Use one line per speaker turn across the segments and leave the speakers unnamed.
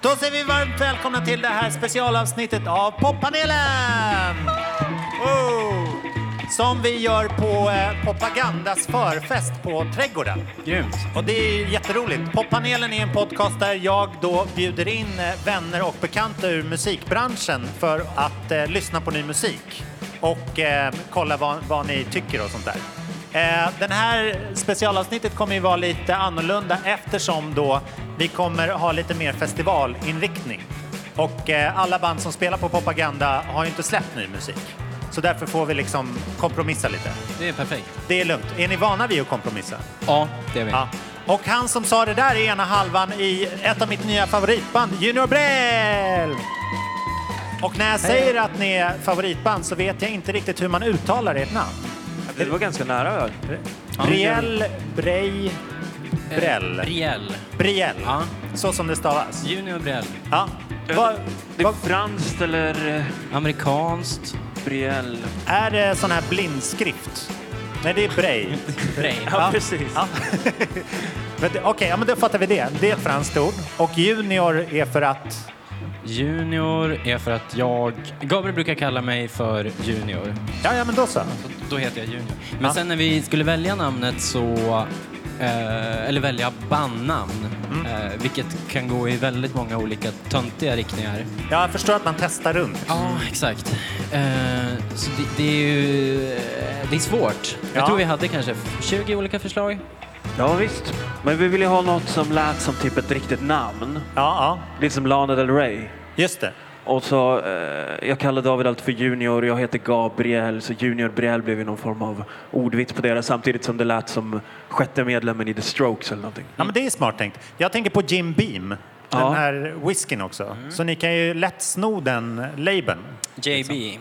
Då säger vi varmt välkomna till det här specialavsnittet av Poppanelen! Oh! Som vi gör på eh, Poppagandas förfest på Trädgården.
Grymt.
Och det är ju jätteroligt. Poppanelen är en podcast där jag då bjuder in eh, vänner och bekanta ur musikbranschen för att eh, lyssna på ny musik och eh, kolla vad, vad ni tycker och sånt där. Eh, den här specialavsnittet kommer ju vara lite annorlunda eftersom då vi kommer ha lite mer festivalinriktning. Och eh, alla band som spelar på Propaganda har ju inte släppt ny musik. Så därför får vi liksom kompromissa lite.
Det är perfekt.
Det är lugnt. Är ni vana vid att kompromissa?
Ja, det är vi.
Ja. Och han som sa det där är ena halvan i ett av mitt nya favoritband, Junior Brell! Och när jag säger att ni är favoritband så vet jag inte riktigt hur man uttalar ert namn.
Det var ganska nära.
Briel, Brej, Brell.
Briell.
Briel.
Eh, Ja.
Så som det stavas.
Junior Briell.
Ja. Vad,
Eh, Det är franskt eller eh,
Amerikanskt.
Briel.
är det sån här blindskrift? Nej, det är Brej.
Brej.
Ja, precis.
Ja. Men det- Okej, ja, men då fattar vi det. Det är ett franskt ord. Och junior är för att...
Junior är för att jag... Gabriel brukar kalla mig för Junior.
Ja, ja, men då så.
Så då heter jag Junior. Men
Ja.
sen när vi skulle välja namnet så... Eh, eller välja bandnamn. Eh, vilket kan gå i väldigt många olika töntiga riktningar.
Ja, jag förstår att man testar runt.
Ja, exakt. Eh, så det, det är ju... eh, Det är svårt.
Ja.
Jag tror vi hade kanske 20 olika förslag.
Ja, visst. Men vi ville ju ha något som lät som typ ett riktigt namn.
Ja, ja.
Lite som Lana Del Rey.
Just det.
Och så, eh, jag kallar David allt för Junior, jag heter Gabriel, så Junior Briel blev ju någon form av ordvits på deras samtidigt som det lät som sjätte medlemmen i The Strokes eller någonting.
Ja, men det är smart tänkt. Jag tänker på Jim Beam, den
Ja. Mm.
här whiskyn också. Så ni kan ju lätt sno den labeln.
JB.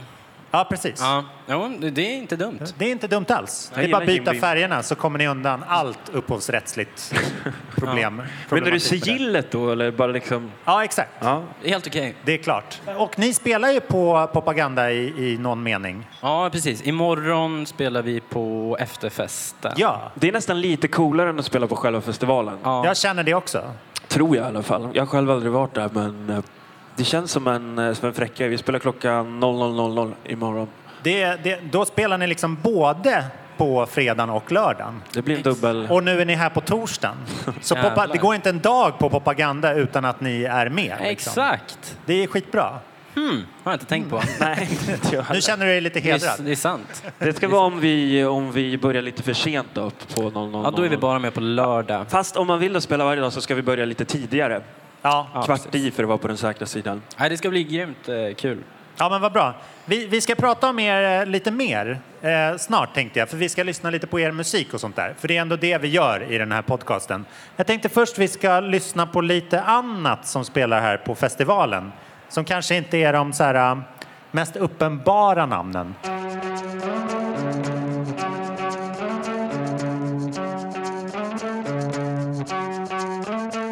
Ja, precis.
Ja, jo, det- det är inte dumt.
Det är inte dumt alls.
Jag
det är bara att
gillar Jim
byta
Beam.
färgerna så kommer ni undan allt upphovsrättsligt problem.
Men är du
problematik med det.
sigillet då eller bara liksom?
Ja, exakt.
Ja.
Det är helt okej.
Det är klart. Och ni spelar ju på Propaganda i, i någon mening.
Ja, precis. Imorgon spelar vi på efterfesten.
Ja,
Det är nästan lite coolare än att spela på själva festivalen.
Ja.
jag känner det också.
Tror jag i alla fall. Jag har själv aldrig varit där men eh, det känns som en, eh, som en fräcka. Vi spelar klockan 00.00 imorgon.
Det, det, då spelar ni liksom både på fredagen och lördagen.
Det blir en dubbel...
Och nu är ni här på torsdagen. Så
Jävlar.
poppa, det går inte en dag på propaganda utan att ni är med. liksom.
Exakt.
Det är skitbra.
Hmm, har jag inte tänkt
Mm.
på.
Nej, inte
Nu
jag heller.
känner du dig lite
Det är,
hedrad.
det är sant.
Det ska vara om vi, om vi börjar lite för sent då på 00.00.
Ja, då är vi bara med på lördag.
Fast om man vill då spela varje dag så ska vi börja lite tidigare.
Ja.
Kvart i för att vara på den säkra sidan.
Nej, det ska bli grymt eh, kul.
ja, men vad bra. Vi, vi ska prata om er eh, lite mer eh, snart tänkte jag, för vi ska lyssna lite på er musik och sånt där. För det är ändå det vi gör i den här podcasten. Jag tänkte först vi ska lyssna på lite annat som spelar här på festivalen. Som kanske inte är de så här, eh, mest uppenbara namnen.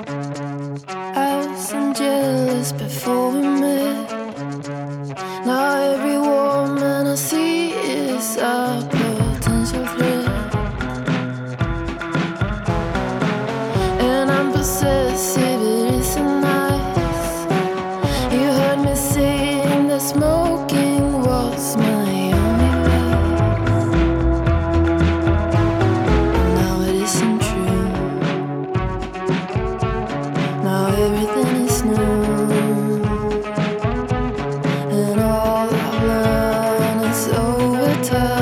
I wasn't jealous before we met. Now every woman I see is a potential threat. And I'm possessive, it isn't nice. You heard me saying that smoking was my only way. Now it isn't true. Now everything is new, and all I've learned is over time.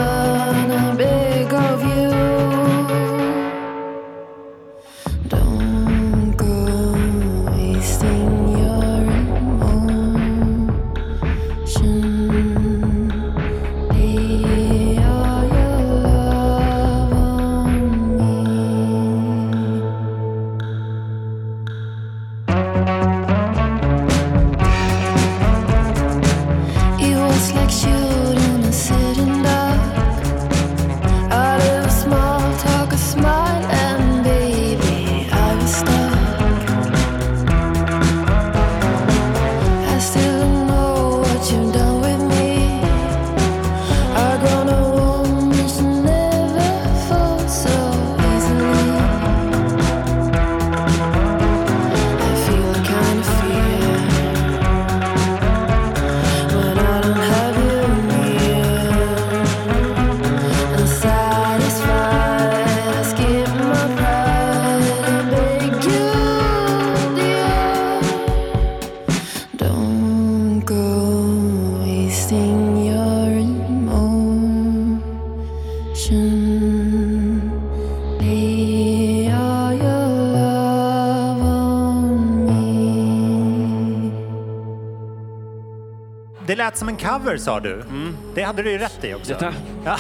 Det lät som en cover sa du. Mm. Det hade du ju rätt i också.
Ja, tack.
Ja.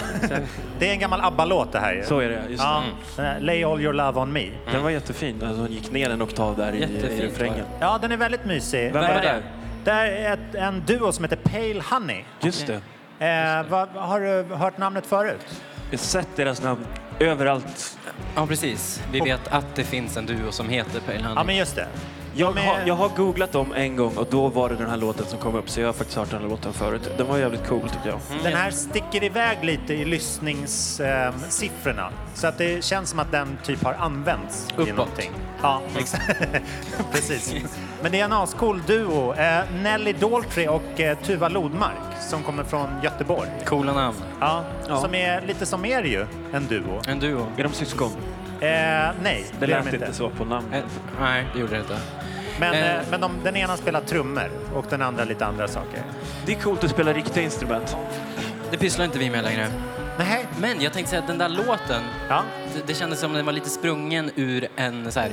Det är en gammal ABBA-låt det här ju.
Så är det, just
ja. Den här Lay all your love on me.
Den var jättefin. Alltså, hon gick ner en oktav där i,
Jättefint
i refrängen.
var
Ja, den är väldigt mysig.
Vem
Vem
var
är
där?
Det är ett, en duo som heter Pale Honey.
Just det.
Eh, vad, har du hört namnet förut?
Jag har sett deras namn överallt.
Ja, precis. Vi vet att det finns en duo som heter Pale Honey.
Ja, men just det.
Jag,
De är-
har, jag har googlat dem en gång och då var det den här låten som kom upp. Så jag har faktiskt hört den här låten förut. Den var jävligt cool tycker jag.
Den här sticker iväg lite i lyssningssiffrorna. Så att det känns som att den typ har använts i
Uppåt.
någonting. Ja, exakt. Precis. Men det är en ascool duo. Eh, Nelly Daltrey och eh, Tuva Lodmark som kommer från Göteborg.
Coola namn.
Ja,
Ja.
Som är lite som er ju, en duo.
En duo.
Är de syskon?
Eh, nej,
Det
är de
lät inte så på
Eh,
namnet.
nej, det gjorde det inte.
Men,
Eh.
eh, men de, den ena spelar trummor och den andra lite andra saker.
Det är coolt att spela riktiga instrument.
Det pysslar inte vi med längre.
Nej.
Men jag tänkte säga att den där låten,
Ja.
Det, det kändes som den var lite sprungen ur en så här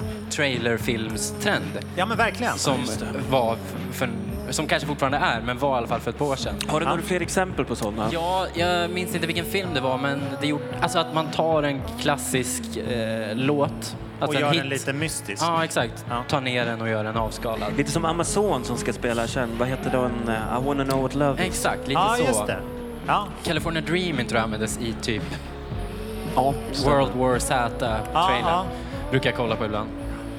trailerfilmstrend
ja, men verkligen.
som var f- för, som kanske fortfarande är, men var i alla fall för ett par år sedan.
Har du några fler exempel på sådana?
Ja, jag minns inte vilken film det var, men det gjorde, alltså att man tar en klassisk eh, låt,
och
alltså
gör
en hit.
den lite mystisk.
Ja, exakt.
Ja.
Tar ner den och gör den avskalad.
Lite som Amazon som ska spela sen. Vad heter den? eh, I wanna know what love is.
Exakt, lite
Ja,
så.
just det. Ja,
California Dreaming tror jag användes i typ
Ja,
World War Z-trailern.
ja.
Brukar jag kolla på ibland.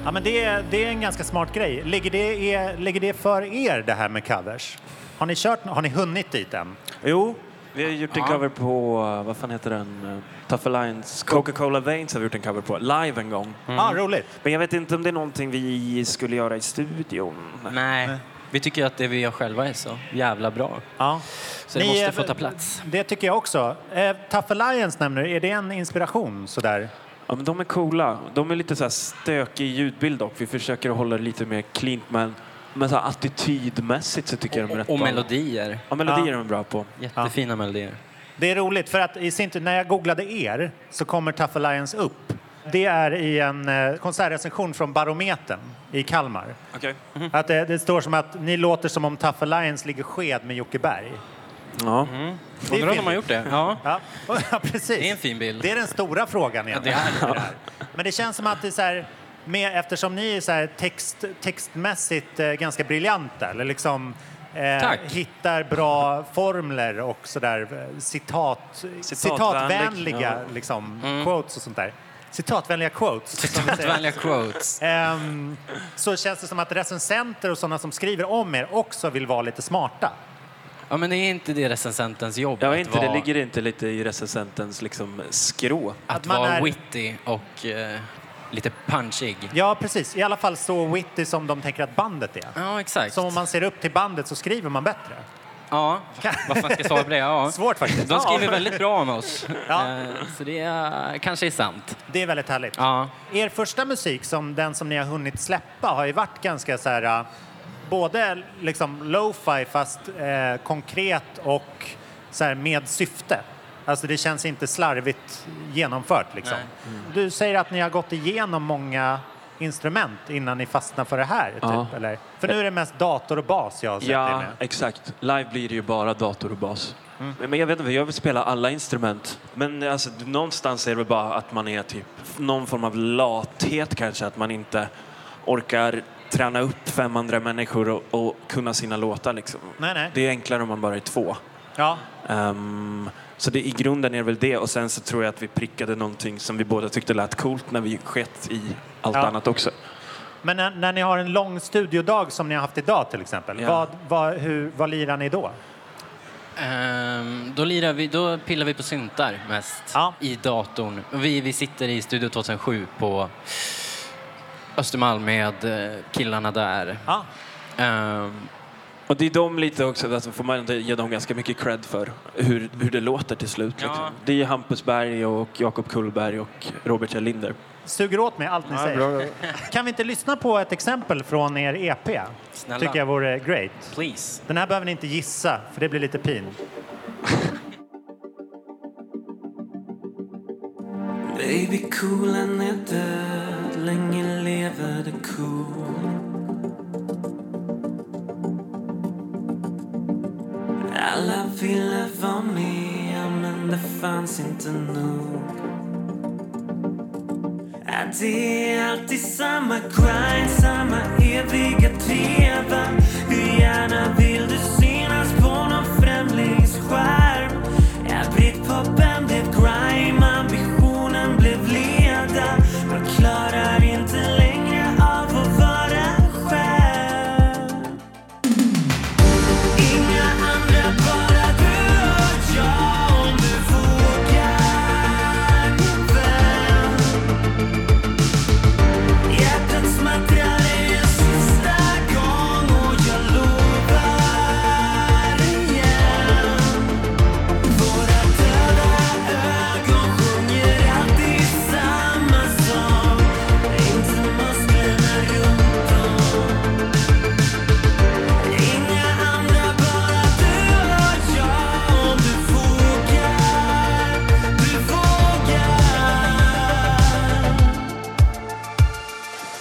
Ja, men det, är- det är en ganska smart grej. Ligger det, är, ligger det för er, det här med covers? Har ni, kört, har ni hunnit dit än?
Jo, vi har gjort en
Ja.
cover på, eh, vad fan heter den? Eh, Tough Alliance. Mm. Coca-Cola Veins har vi gjort en cover på, live en gång.
Ja, ah, roligt.
Men jag vet inte om det är någonting vi skulle göra i studion.
Nej. Vi tycker ju att det vi gör själva är så jävla bra.
Ja.
Så det måste få ta plats.
Det tycker jag också. Eh, Tough Alliance nämner du. Är det en inspiration? Sådär?
Ja, men de är coola. De är lite så här stökig ljudbild dock. Vi försöker att hålla det lite mer cleant men, men så här attitydmässigt så tycker jag de är rätt
Och, och
bra.
melodier.
Ja, melodier är de bra på.
Jättefina melodier.
Det är roligt, för att i sin tur, när jag googlade er så kommer Tough Alliance upp. Det är i en eh, konsertrecension från Barometern i Kalmar.
Okej.
Att eh, det, det står som att ni låter som om Tough Alliance ligger sked med Jocke Berg.
Ja.
Det är
Undrar om de
fint.
har gjort det? Ja.
Ja, ja precis.
Det är en fin bild.
Det är den stora frågan egentligen.
Ja,
det Men det känns som att det är så här, med, eftersom ni är så här text, textmässigt eh, ganska briljanta, eller liksom eh,
Tack.
hittar bra formler och så där, eh, citat, citatvänliga
Ja.
liksom,
Mm.
quotes och sånt där. Citatvänliga quotes. som vi säger.
Citatvanliga quotes.
Ehm, så känns det som att recensenter och sådana som skriver om er också vill vara lite smarta.
Ja, men det är inte det recensentens jobb
Jag
att
vet inte,
vara,
det ligger inte lite i recensentens liksom skrå.
att
att
man
vara
är-
witty och eh, lite punchig.
Ja, precis. I alla fall så witty som de tänker att bandet är.
Ja, exakt.
Som om man ser upp till bandet så skriver man bättre.
Ja, vad fan ska jag svara på det? Ja.
Svårt faktiskt.
De skriver
Ja.
väldigt bra om oss.
Ja.
Eh, Så det är, kanske är sant.
Det är väldigt härligt.
Ja.
Er första musik, som den som ni har hunnit släppa, har ju varit ganska så här... äh, Både liksom lo-fi, fast eh, konkret och så här, med syfte. Alltså det känns inte slarvigt genomfört. Liksom. Du säger att ni har gått igenom många instrument innan ni fastnar för det här. Typ,
Ja.
eller? För nu är det mest dator och bas jag har sett er
Ja,
med.
exakt. Live blir det ju bara dator och bas. Mm. Men- Men jag vet inte, jag vill spela alla instrument. Men alltså, någonstans är det väl bara att man är typ någon form av lathet kanske, att man inte orkar träna upp fem andra människor och, och kunna sina låtar liksom.
Nej, nej.
Det är enklare om man bara är två.
Ja.
Ehm, så det, i grunden är det väl det och sen så tror jag att vi prickade någonting som vi båda tyckte lät coolt när vi skett i allt
Ja.
annat också.
Men när, när ni har en lång studiodag som ni har haft idag till exempel,
Ja.
vad, vad, hur, vad lirar ni då?
Ehm, då, lirar vi, då pillar vi på syntar mest
Ja.
i datorn. Vi, vi sitter i Studio 2007 på Östermalm med eh, killarna där.
Ja,
Ehm,
Och det är de lite också, alltså får man inte ge dem ganska mycket cred för, hur, hur det låter till slut.
Ja.
Liksom. Det är ju Hampus Berg och Jakob Kullberg och Robert Kjellinder.
suger åt mig allt ni säger. Kan vi inte lyssna på ett exempel från er EP?
Snälla.
Tycker jag vore great.
please.
Den här behöver ni inte gissa, för det blir lite pin.
Baby coolen är död, länge lever det cool Alla ville vara med, men det fanns inte nog. Ja, Det är alltid samma grind, samma eviga trevan. Hur gärna vill du synas på någon främlingsskärm? Ja, Britpopen blev grime, ambitionen blev leda. Man klarar inte längre av att vara själv. Inga andra, bara du och jag om du vågar, min vän. Hjärtat smattrar en sista gång och jag lovar igen Våra döda ögon sjunger alltid samma sång Inte musklerna runt om Inga andra, bara du och jag Om du vågar, du vågar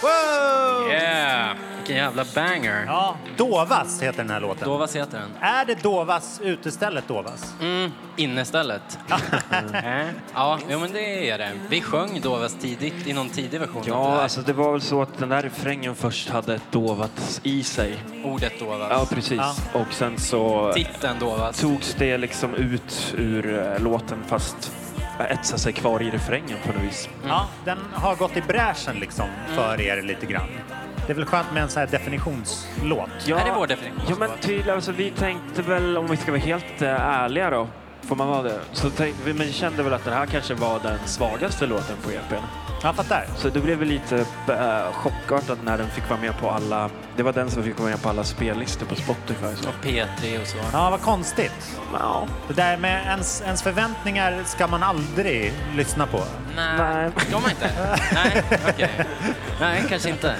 Wow!
Yeah! Vilken jävla banger.
Ja, Dovas heter den här låten.
Dovas heter den.
Är det Dovas utestället Dovas?
Mm, innestället. Mm. ja, jo, men det är det. Vi sjöng Dovas tidigt i någon tidig version av det
Ja,
där.
alltså det var väl så att den där refrängen först hade ett dovat i sig.
ordet Dovas.
Ja, precis.
Ja.
Och sen så
Titeln Dovas.
togs det liksom ut ur eh, låten fast eh, etsade sig kvar i refrängen på något vis.
Ja, den har gått i bräschen liksom för er lite grann. Det är väl skönt med en sån här definitionslåt.
Ja,
Är det vår definition?
Ja, men tydligen. Alltså, vi tänkte väl, om vi ska vara helt eh, ärliga då, får man vara det? Så tänkte vi, men kände väl att den här kanske var den svagaste låten på EPn.
Jag fattar.
Så det blev väl lite eh, chockartat när den fick vara med på alla... Det var den som fick vara med på alla spellistor på Spotify. Så.
Och P3 och så.
Ja, vad konstigt.
Ja.
Det där med ens, ens förväntningar ska man aldrig lyssna på.
Nej,
Nej.
de inte? Nej, okej. Nej, kanske inte.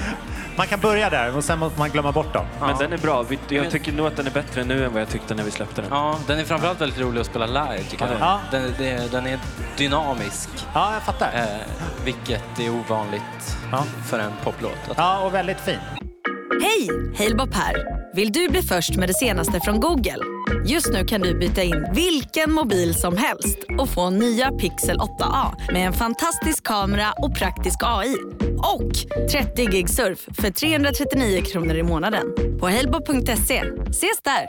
Man kan börja där och sen måste man glömma bort dem.
Men
Ja.
den är bra. Vi,
Men-
jag tycker nog att den är bättre nu än vad jag tyckte när vi släppte den.
Ja, den är framförallt väldigt rolig att spela live tycker jag.
Ja.
Den, det- den är dynamisk,
Ja, jag fattar.
eh, vilket är ovanligt
Ja.
för en poplåt. Att-
Ja, och väldigt fin.
Hej! Halebop här. Vill du bli först med det senaste från Google? Just nu kan du byta in vilken mobil som helst och få nya Pixel 8A med en fantastisk kamera och praktisk AI. Och 30 gig surf för 339 kronor i månaden på halebop.se. Ses där!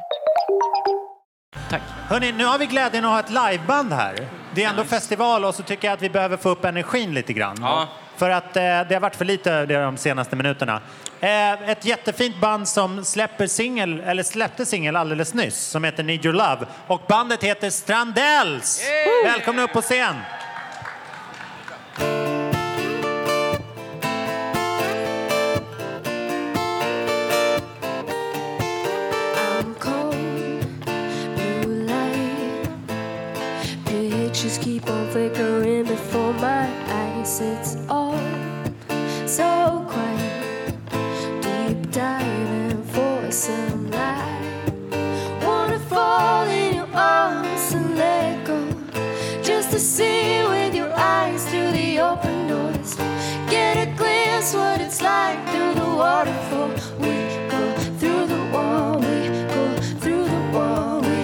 Tack.
Hörni, nu har vi glädjen att ha ett liveband här. Det är ändå festival och så tycker jag att vi behöver få upp energin lite grann.
Ja.
För att eh, det har varit för lite av det de senaste minuterna. Eh, ett jättefint band som släpper singel, eller släppte singel alldeles nyss, som heter Need Your Love. Och bandet heter Strandells! Välkomna upp på scen!
I'm cold, blue light. Pictures keep on flickering before my eyes. It's all so quiet. Deep diving for some light. Wanna fall in your arms and let go. Just to see with your eyes through the open doors. Get a glimpse what it's like through the waterfall. We go through the wall, we go through the wall. We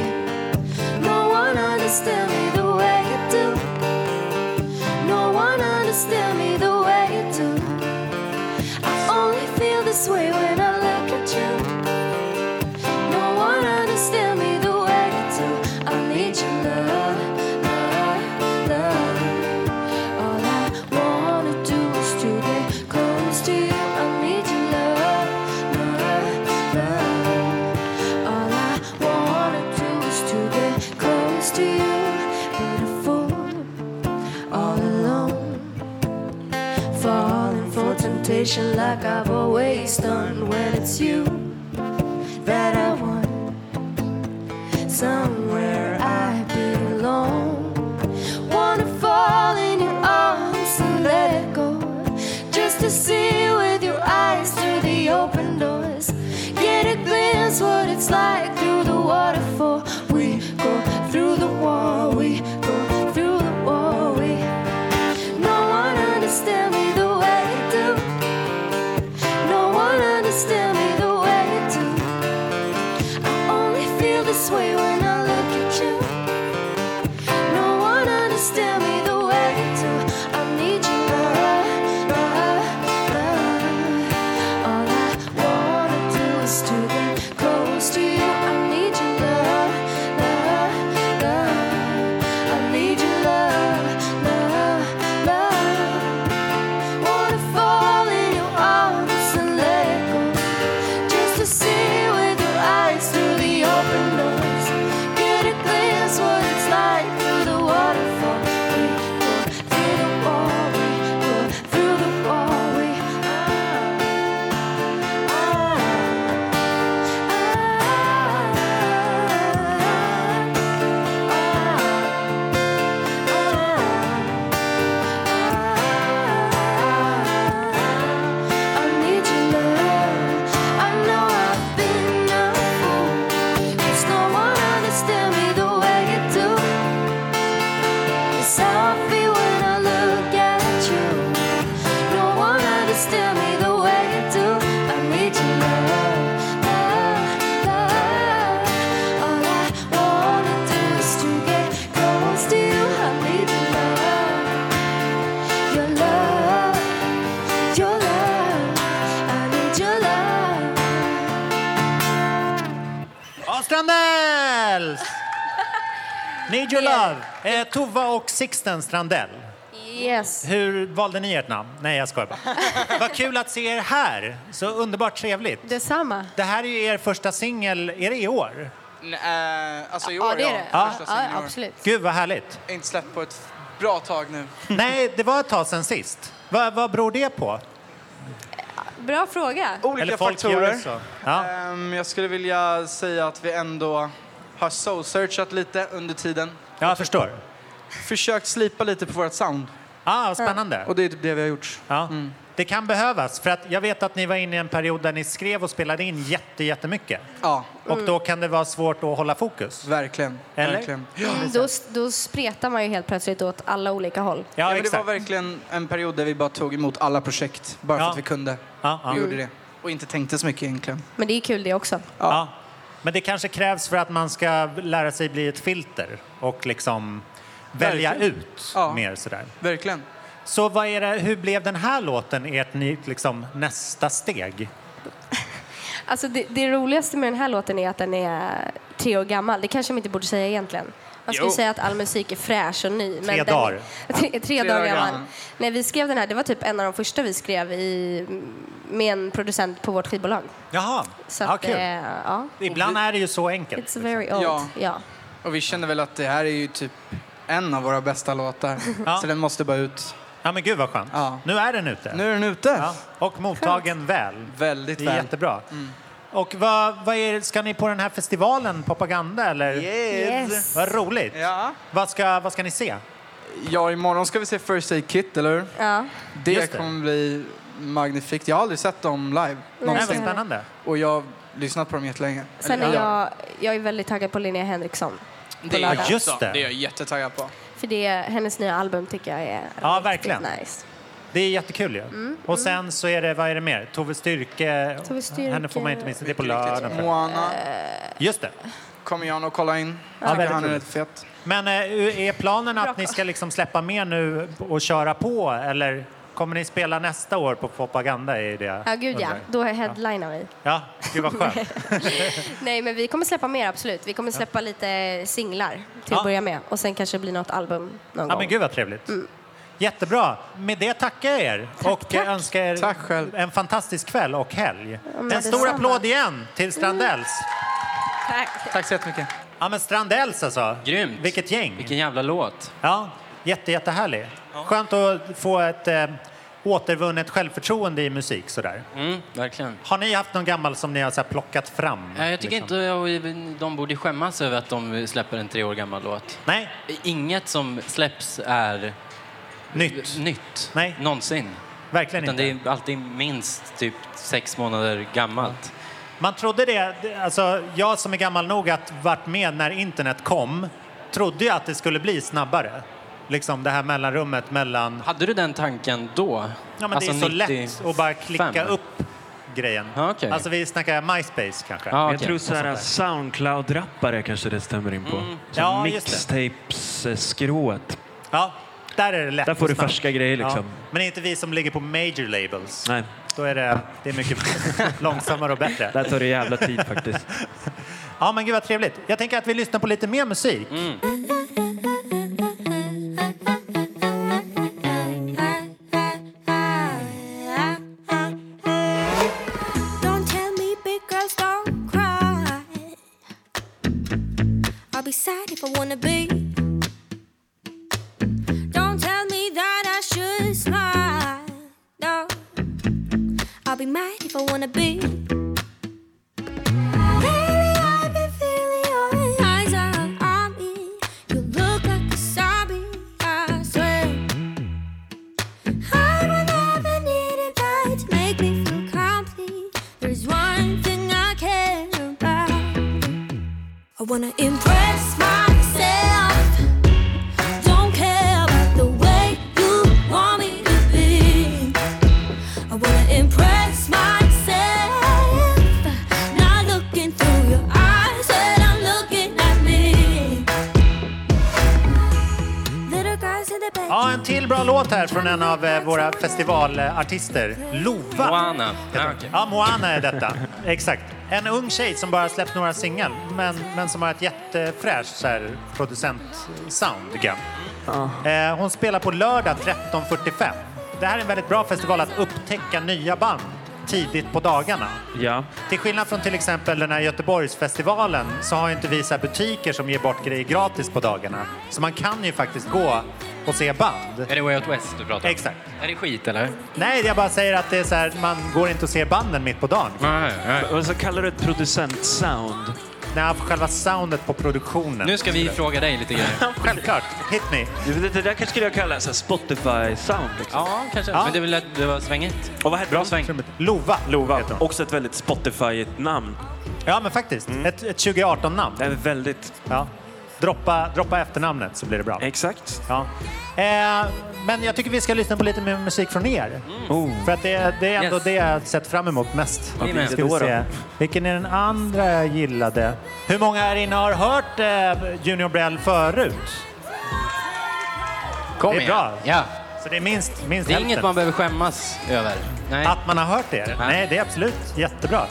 no one understands me the way you do. No one understands me the way you do. I only feel this way when I look at you. No one understands me the way you do. I need your love, love, love. All I wanna do is to get close to you. I need your love, love, love. All I wanna do is to get close to you. Beautiful, all alone falling for temptation like I've always done when it's you that I want. Somewhere I belong. Wanna fall in your arms and let it go. Just to see with your eyes through the open doors. Get a glimpse what it's like through the waterfall. We go through the wall, we go through the wall, we no one understands me the way you do. No one understands me the way you do. I only feel this way when I look
Hans Strandells! Need your love. Eh, Tova och Sixten Strandell.
Yes.
Hur valde ni ert namn? Nej, jag skojar bara. Vad kul att se er här. Så underbart trevligt.
Detsamma.
Det här är ju er första singel. Är det i år?
Nej, eh, alltså i år,
Ja, det är det.
Ja.
Första
Ja,
singeln i år.
absolut.
Gud, vad härligt.
Inte släppt på ett bra tag nu.
Nej, det var ett tag sedan sist. Vad, vad beror det på?
Bra fråga.
Olika faktorer.
så. Ja.
Ehm, jag skulle vilja säga att vi ändå har soul-searchat lite under tiden.
Ja, jag förstår.
Försökt slipa lite på vårt sound.
Ah, spännande.
Och Mm. det är typ det vi har gjort.
Ja. Det kan behövas, för att jag vet att ni var inne i en period där ni skrev och spelade in jätte, jättemycket.
Ja,
Och då kan det vara svårt att hålla fokus.
verkligen.
Eller?
verkligen.
Mm, Då, då spretar man ju helt plötsligt åt alla olika håll.
Ja,
Ja,
men det var
exakt.
verkligen en period där vi bara tog emot alla projekt bara för
Ja.
att vi kunde.
Ja, ja.
Vi gjorde det. Och inte tänkte så mycket egentligen.
Men det är kul det också.
Ja. Men det kanske krävs för att man ska lära sig bli ett filter och liksom välja
Verkligen.
ut
Ja.
mer sådär.
Verkligen.
Så vad är det, hur blev den här låten ert ny, liksom, nästa steg?
Alltså det, det roligaste med den här låten är att den är tre år gammal. Det kanske man inte borde säga egentligen. Man skulle
Jo.
säga att all musik är fräsch och ny.
Tre
den,
dagar.
Tre, tre,
dagar
dagar gammal.
gammal.
När vi skrev den här, det var typ en av de första vi skrev i, med en producent på vårt skivbolag.
Jaha,
Så
ja,
att,
kul.
eh, ja.
Ibland är det ju så enkelt.
It's very old.
Ja.
Ja.
Och vi kände väl att det här är ju typ en av våra bästa låtar.
Ja.
Så den måste bara ut.
Ja men gud vad skönt.
Ja.
Nu är den ute.
Nu är den ute.
Ja. Och mottagen väl.
Väldigt
Det är
väl. Mm.
jättebra. Och vad, vad är, ska ni på den här festivalen, Propaganda? Eller?
Yes.
Yes.
Vad roligt!
Ja.
Vad, ska, vad ska ni se?
ja, imorgon ska vi se First Aid Kit, eller hur?
Ja.
Det,
Just det.
kommer bli magnifikt. Jag har aldrig sett dem live
Nej, vad
någonsin.
spännande.
Och jag har lyssnat på dem jättelänge.
Sen är jag, jag är väldigt taggad på Linnea Henriksson.
Det är
Ja,
jag
just
också.
det.
Det är jag jättetaggad på.
För det, hennes nya album tycker jag är
Ja,
riktigt
verkligen.
nice.
Det är jättekul ju. Och sen så är det, vad är det mer? Tove Styrke.
Mm. Tove Styrke.
Henne får man inte missa. Det är på lördagen. tror jag.
Moana
Just det.
kommer jag nog kolla in.
Ja,
Tycker
väldigt
han är
roligt.
rätt fet.
Men eh, är planen
Bra
att ni ska liksom släppa mer nu och köra på eller kommer ni spela nästa år på Propaganda? Är det jag
Ja, gud ja.
undrar?
Då headlinar vi.
Ja, gud vad skönt.
Nej, men vi kommer släppa mer, absolut. Vi kommer släppa lite singlar till
Ja.
att börja med. Och sen kanske det blir något album någon
Ja,
gång.
men gud vad trevligt.
Mm.
Jättebra. Med det tackar jag er och önskar er
Tack själv.
en fantastisk kväll och helg.
men
en stor
detsamma. Mm.
applåd igen till Strandells.
Tack.
Tack så jättemycket.
Ja, men Strandells alltså.
Grymt.
Vilket gäng.
Vilken jävla låt.
Ja, jätte, jättehärlig. Skönt att få ett eh, återvunnet självförtroende i musik sådär.
Mm, verkligen.
Har ni haft någon gammal som ni har så här, plockat fram?
Nej, jag tycker
liksom?
inte jag, de borde skämmas över att de släpper en tre år gammal låt.
Nej,
Inget som släpps är
nytt.
nytt
Nej.
någonsin.
Verkligen
Utan
inte.
det är alltid minst typ sex månader gammalt.
Man trodde det, det- alltså jag som är gammal nog att varit med när internet kom, trodde ju att det skulle bli snabbare. Liksom det här mellanrummet mellan,
Hade du den tanken då?
ja men det är så lätt att bara klicka upp grejen.
Alltså Ja, okej.
Alltså vi snackar MySpace kanske.
Ja,
Jag
okej.
tror så här Soundcloud-rappare kanske det stämmer in på. Mm.
Ja, just
Mixtapes-skrået.
Ja, där är det lätt.
Där får
och
du
snabbt.
färska grejer
Ja,
liksom.
Men det är inte vi som ligger på major labels.
Nej,
Då är det, det är mycket långsammare och bättre.
där tar det jävla tid faktiskt.
Ja, men gud vad trevligt. Jag tänker att vi lyssnar på lite mer musik.
Don't tell me big girls don't cry. I'll be sad if I wanna be. Don't tell me that I should smile. No, I'll be mad if I wanna be. Lately I've been feeling your eyes are on me. You look like a zombie, I swear. I will never need a guy to make me feel complete. There's one thing I care about. I wanna impress myself. Don't care about the way you want me to be. I wanna impress myself. Not looking through your eyes when I'm looking at me. Little guys in the back.
Ja, en till bra låt här från en av eh, våra festivalartister. Lova.
Moana.
heter
Ah,
hon.
okej.
Ja, Moana är detta. Exakt. En ung tjej som bara släppt några singlar men, men som har ett jättefräscht så här, producent-sound tycker jag. Eh, hon spelar på lördag 13.45. Det här är en väldigt bra festival att upptäcka nya band tidigt på dagarna.
Ja.
Till skillnad från till exempel den här Göteborgsfestivalen så har ju inte vi så här butiker som ger bort grejer gratis på dagarna. Så man kan ju faktiskt gå och se band.
Är det Way Out West du pratar om?
Exakt.
Är det skit eller?
Nej, jag bara säger att det är så här, man går inte och ser banden mitt på dagen.
Nej, nej.
Vad så kallar du ett producentsound?
Nej, för själva soundet på produktionen.
Nu ska vi fråga dig lite grejer.
Självklart, hit me.
Det, det, det där kanske skulle jag kalla så här Spotify-sound. Liksom.
Ja, kanske.
Ja.
Men det är väl att det var svängigt?
Och vad heter
Bra
hon?
sväng.
Lova.
Lova.
heter hon.
Också ett väldigt Spotify-namn.
Ja, men faktiskt.
Mm.
Ett, ett 2018-namn.
Det är väldigt...
Ja. Droppa, droppa efternamnet så blir det bra.
Exakt.
Ja. Eh, men jag tycker vi ska lyssna på lite mer musik från er. För att det, det är ändå
Mm. Oh. Yes.
det jag har sett fram emot mest.
Vad blir det
Ska vi
då då?
se. Vilken är den andra jag gillade? Hur många här inne har hört eh, Junior Brell förut?
Kom
Det är
igen.
bra.
Ja.
Så det är minst, minst
Det är
hälften.
inget man behöver skämmas över. Nej.
Att man har hört det?
Ja.
Nej, det är absolut jättebra.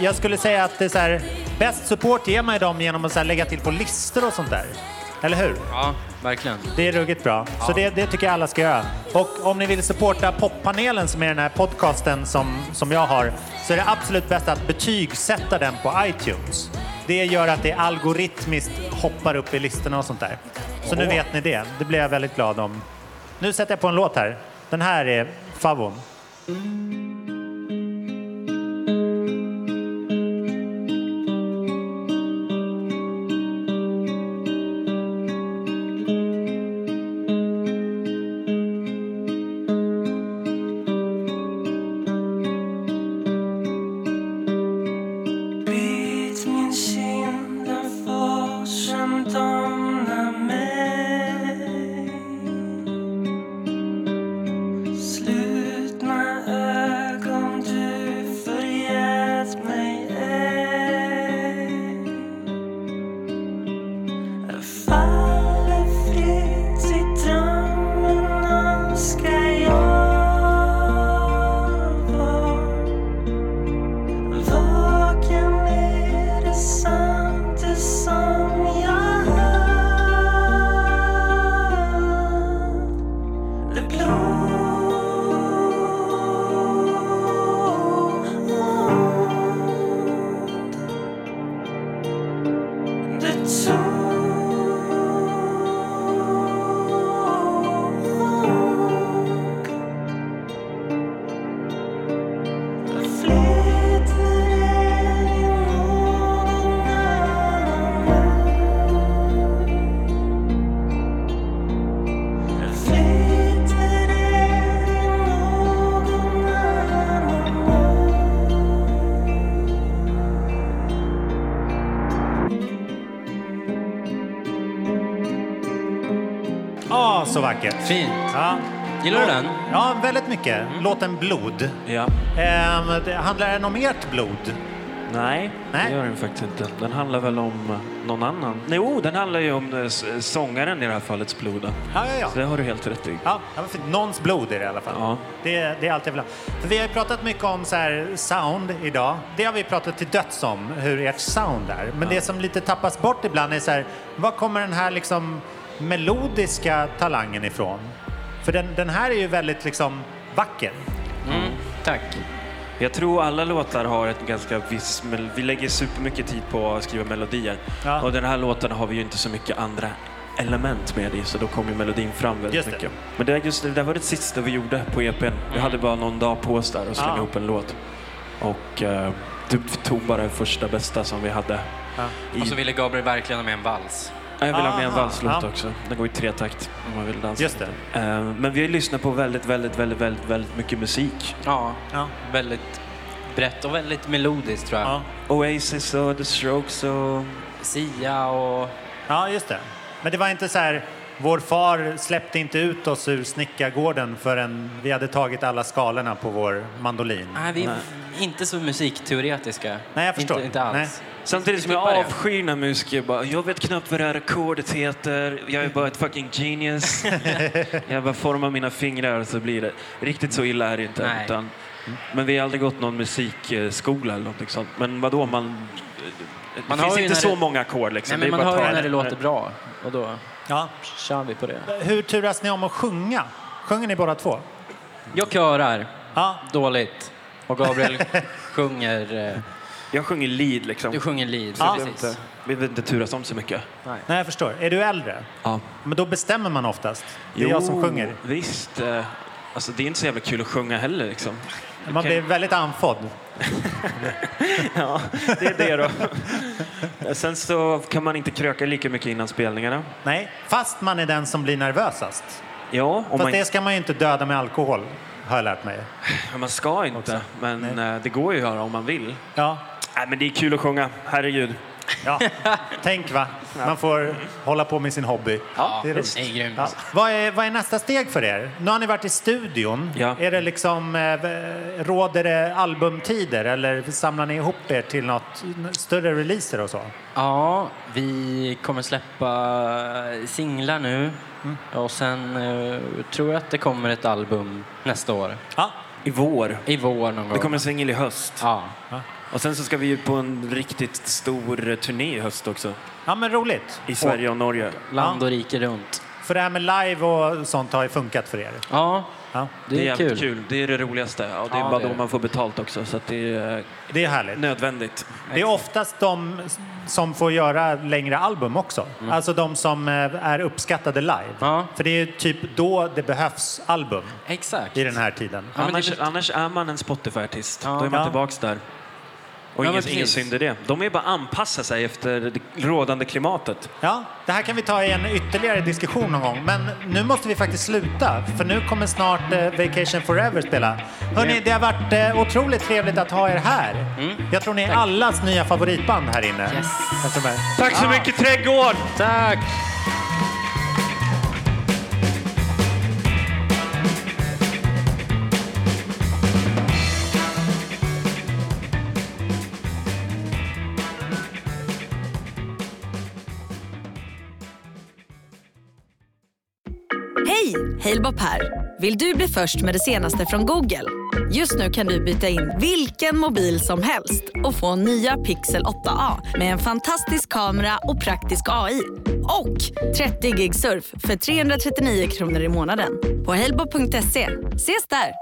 Jag skulle säga att det är så här, bäst support ger man ju dem genom att så här lägga till på listor och sånt där. Eller hur?
Ja, verkligen.
Det är ruggigt bra. Så det, det tycker jag alla ska göra. Och om ni vill supporta poppanelen som är den här podcasten som, som jag har så är det absolut bäst att betygsätta den på iTunes. Det gör att det algoritmiskt hoppar upp i listorna och sånt där. Så nu vet ni det. Det blir jag väldigt glad om. Nu sätter jag på en låt här. Den här är favon.
Bit min kind, en fors som domnar mig Slutna ögon, du förgät mig ej Jag faller fritt i drömmen önskar jag var Vaken är det sant det som jag hör Det blod Det tog
Ah, så vackert.
Fint.
Ja.
Gillar du den?
Ja, väldigt mycket. Låten Blod.
Ja.
Ehm, det- handlar den om ert blod?
Nej,
Nej.
det gör den faktiskt inte. Den handlar väl om eh, någon annan. Nej, oh, den handlar ju om eh, s- sångaren i det här fallet, Bloda.
Ja, ja,
Så
ja.
det har du helt rätt i.
Ja, det var fint. Någons blod är det i alla fall.
Ja.
Det, det är allt jag vill ha. För vi har ju pratat mycket om så här sound idag. Det har vi pratat till döds om, hur ert sound är. Men det som lite tappas bort ibland är så här, var kommer den här liksom melodiska talangen ifrån? För den, den här är ju väldigt liksom vacker.
Mm, tack.
Jag tror alla låtar har ett ganska visst... mel- Vi lägger supermycket tid på att skriva melodier.
Ja.
Och den här låten har vi ju inte så mycket andra element med i, så då kommer ju melodin fram väldigt
Just det. Mm.
mycket. Men det, är just, det där var det sista vi gjorde på EPn. Vi hade bara någon dag på oss där och slänga
Ja.
ihop en låt. Och eh, typ tog bara det första bästa som vi hade. I,
Och så ville Gabriel verkligen ha med en vals.
jag vill ha med en
Aha.
valslåt
Alltså Ah, Ja.
också. Den går i tre takt om man vill dansa.
Just det.
Eh, men vi har ju lyssnat på väldigt, väldigt, väldigt, väldigt, väldigt mycket musik.
Ja,
Ja.
väldigt brett och väldigt melodiskt tror jag.
Ja,
Oasis och The Strokes och...
Sia och...
ja just det. Men det var inte så här, vår far släppte inte ut oss ur snickargården förrän vi hade tagit alla skalorna på vår mandolin.
Nej, vi är inte så musikteoretiska.
Nej, jag förstår.
Inte, inte alls.
Nej.
Samtidigt som jag
Skippa det.
avskyr när musiker bara, jag vet knappt vad det här ackordet heter, jag är bara ett fucking genius. jag bara formar mina fingrar så blir det. Riktigt så illa är det inte.
Nej.
Utan, men vi har aldrig gått någon musikskola eller någonting sånt. Men vadå, man...
Man
det
har
finns
ju
inte
när
så
det-
många ackord liksom.
Nej, men
Det är
man
bara att
hör
ta
ju när det
en-
låter bra och då
Ja.
kör vi på det.
Hur turas ni om att sjunga? Sjunger ni båda två?
Jag körar
Ja.
dåligt och Gabriel sjunger... eh,
Jag sjunger lead liksom.
Du sjunger lead.
Ja.
Så precis.
Vi behöver inte turas om så mycket.
Nej, jag förstår. Är du äldre?
Ja.
Men då bestämmer man oftast. Det är jag som sjunger.
Visst. eh, Alltså, det är inte så jävla kul att sjunga heller. Liksom.
Man blir väldigt andfådd.
Ja, det är det då. Sen så kan man inte kröka lika mycket innan spelningarna.
Nej, fast man är den som blir nervösast.
Ja, och
Fast
man,
det ska man ju inte döda med alkohol, har jag lärt mig.
man ska inte, men eh, det går ju att göra om man vill.
Ja,
Nej, men det är kul att sjunga, herregud.
ja. tänk va. Man får hålla på med sin hobby.
Ja,
det är roligt.
det är grymt.
Ja. Vad, är, vad är nästa steg för er? Nu har ni varit i studion.
Ja.
Är det liksom, eh, råder det albumtider eller samlar ni ihop er till något större releaser och så?
Ja, vi kommer släppa singlar nu
Mm.
och sen eh, tror jag att det kommer ett album nästa år.
Ja.
I vår.
I vår någon gång.
Det kommer en singel i höst.
Ja.
Och sen så ska vi ju på en riktigt stor eh, turné i höst också.
ja, men roligt.
I Sverige och Norge.
Land och rike runt.
För det här med live och sånt har ju funkat för er.
Ja,
Ja.
det, är
jävligt
kul.
kul. Det är det roligaste. Ja, det är
Ja,
bara
det är
då
det.
man får betalt också, så att det är eh,
Det är härligt.
nödvändigt.
Det är oftast de som får göra längre album också. Alltså de som eh, är uppskattade live.
Ja.
För det är ju typ då det behövs album
Exakt.
i den här tiden.
Ja, men det är
annars,
lite-
annars är man en Spotify-artist.
Ja.
Då är man
Ja.
tillbaks där. Och
Ja, men
ingen,
precis.
ingen synd i det. De är bara anpassa sig efter det rådande klimatet.
Ja, det här kan vi ta i en ytterligare diskussion någon gång. Men nu måste vi faktiskt sluta, för nu kommer snart eh, Vacation Forever spela. Hörni, det har varit eh, otroligt trevligt att ha er här. Jag tror ni är allas nya favoritband här inne.
Yes.
Jag tror det.
Tack så mycket Trädgård!
Tack!
Hej! Halebop här. Vill du bli först med det senaste från Google? Just nu kan du byta in vilken mobil som helst och få nya Pixel 8A med en fantastisk kamera och praktisk AI. Och 30 gig surf för 339 kronor i månaden på halebop.se. Ses där!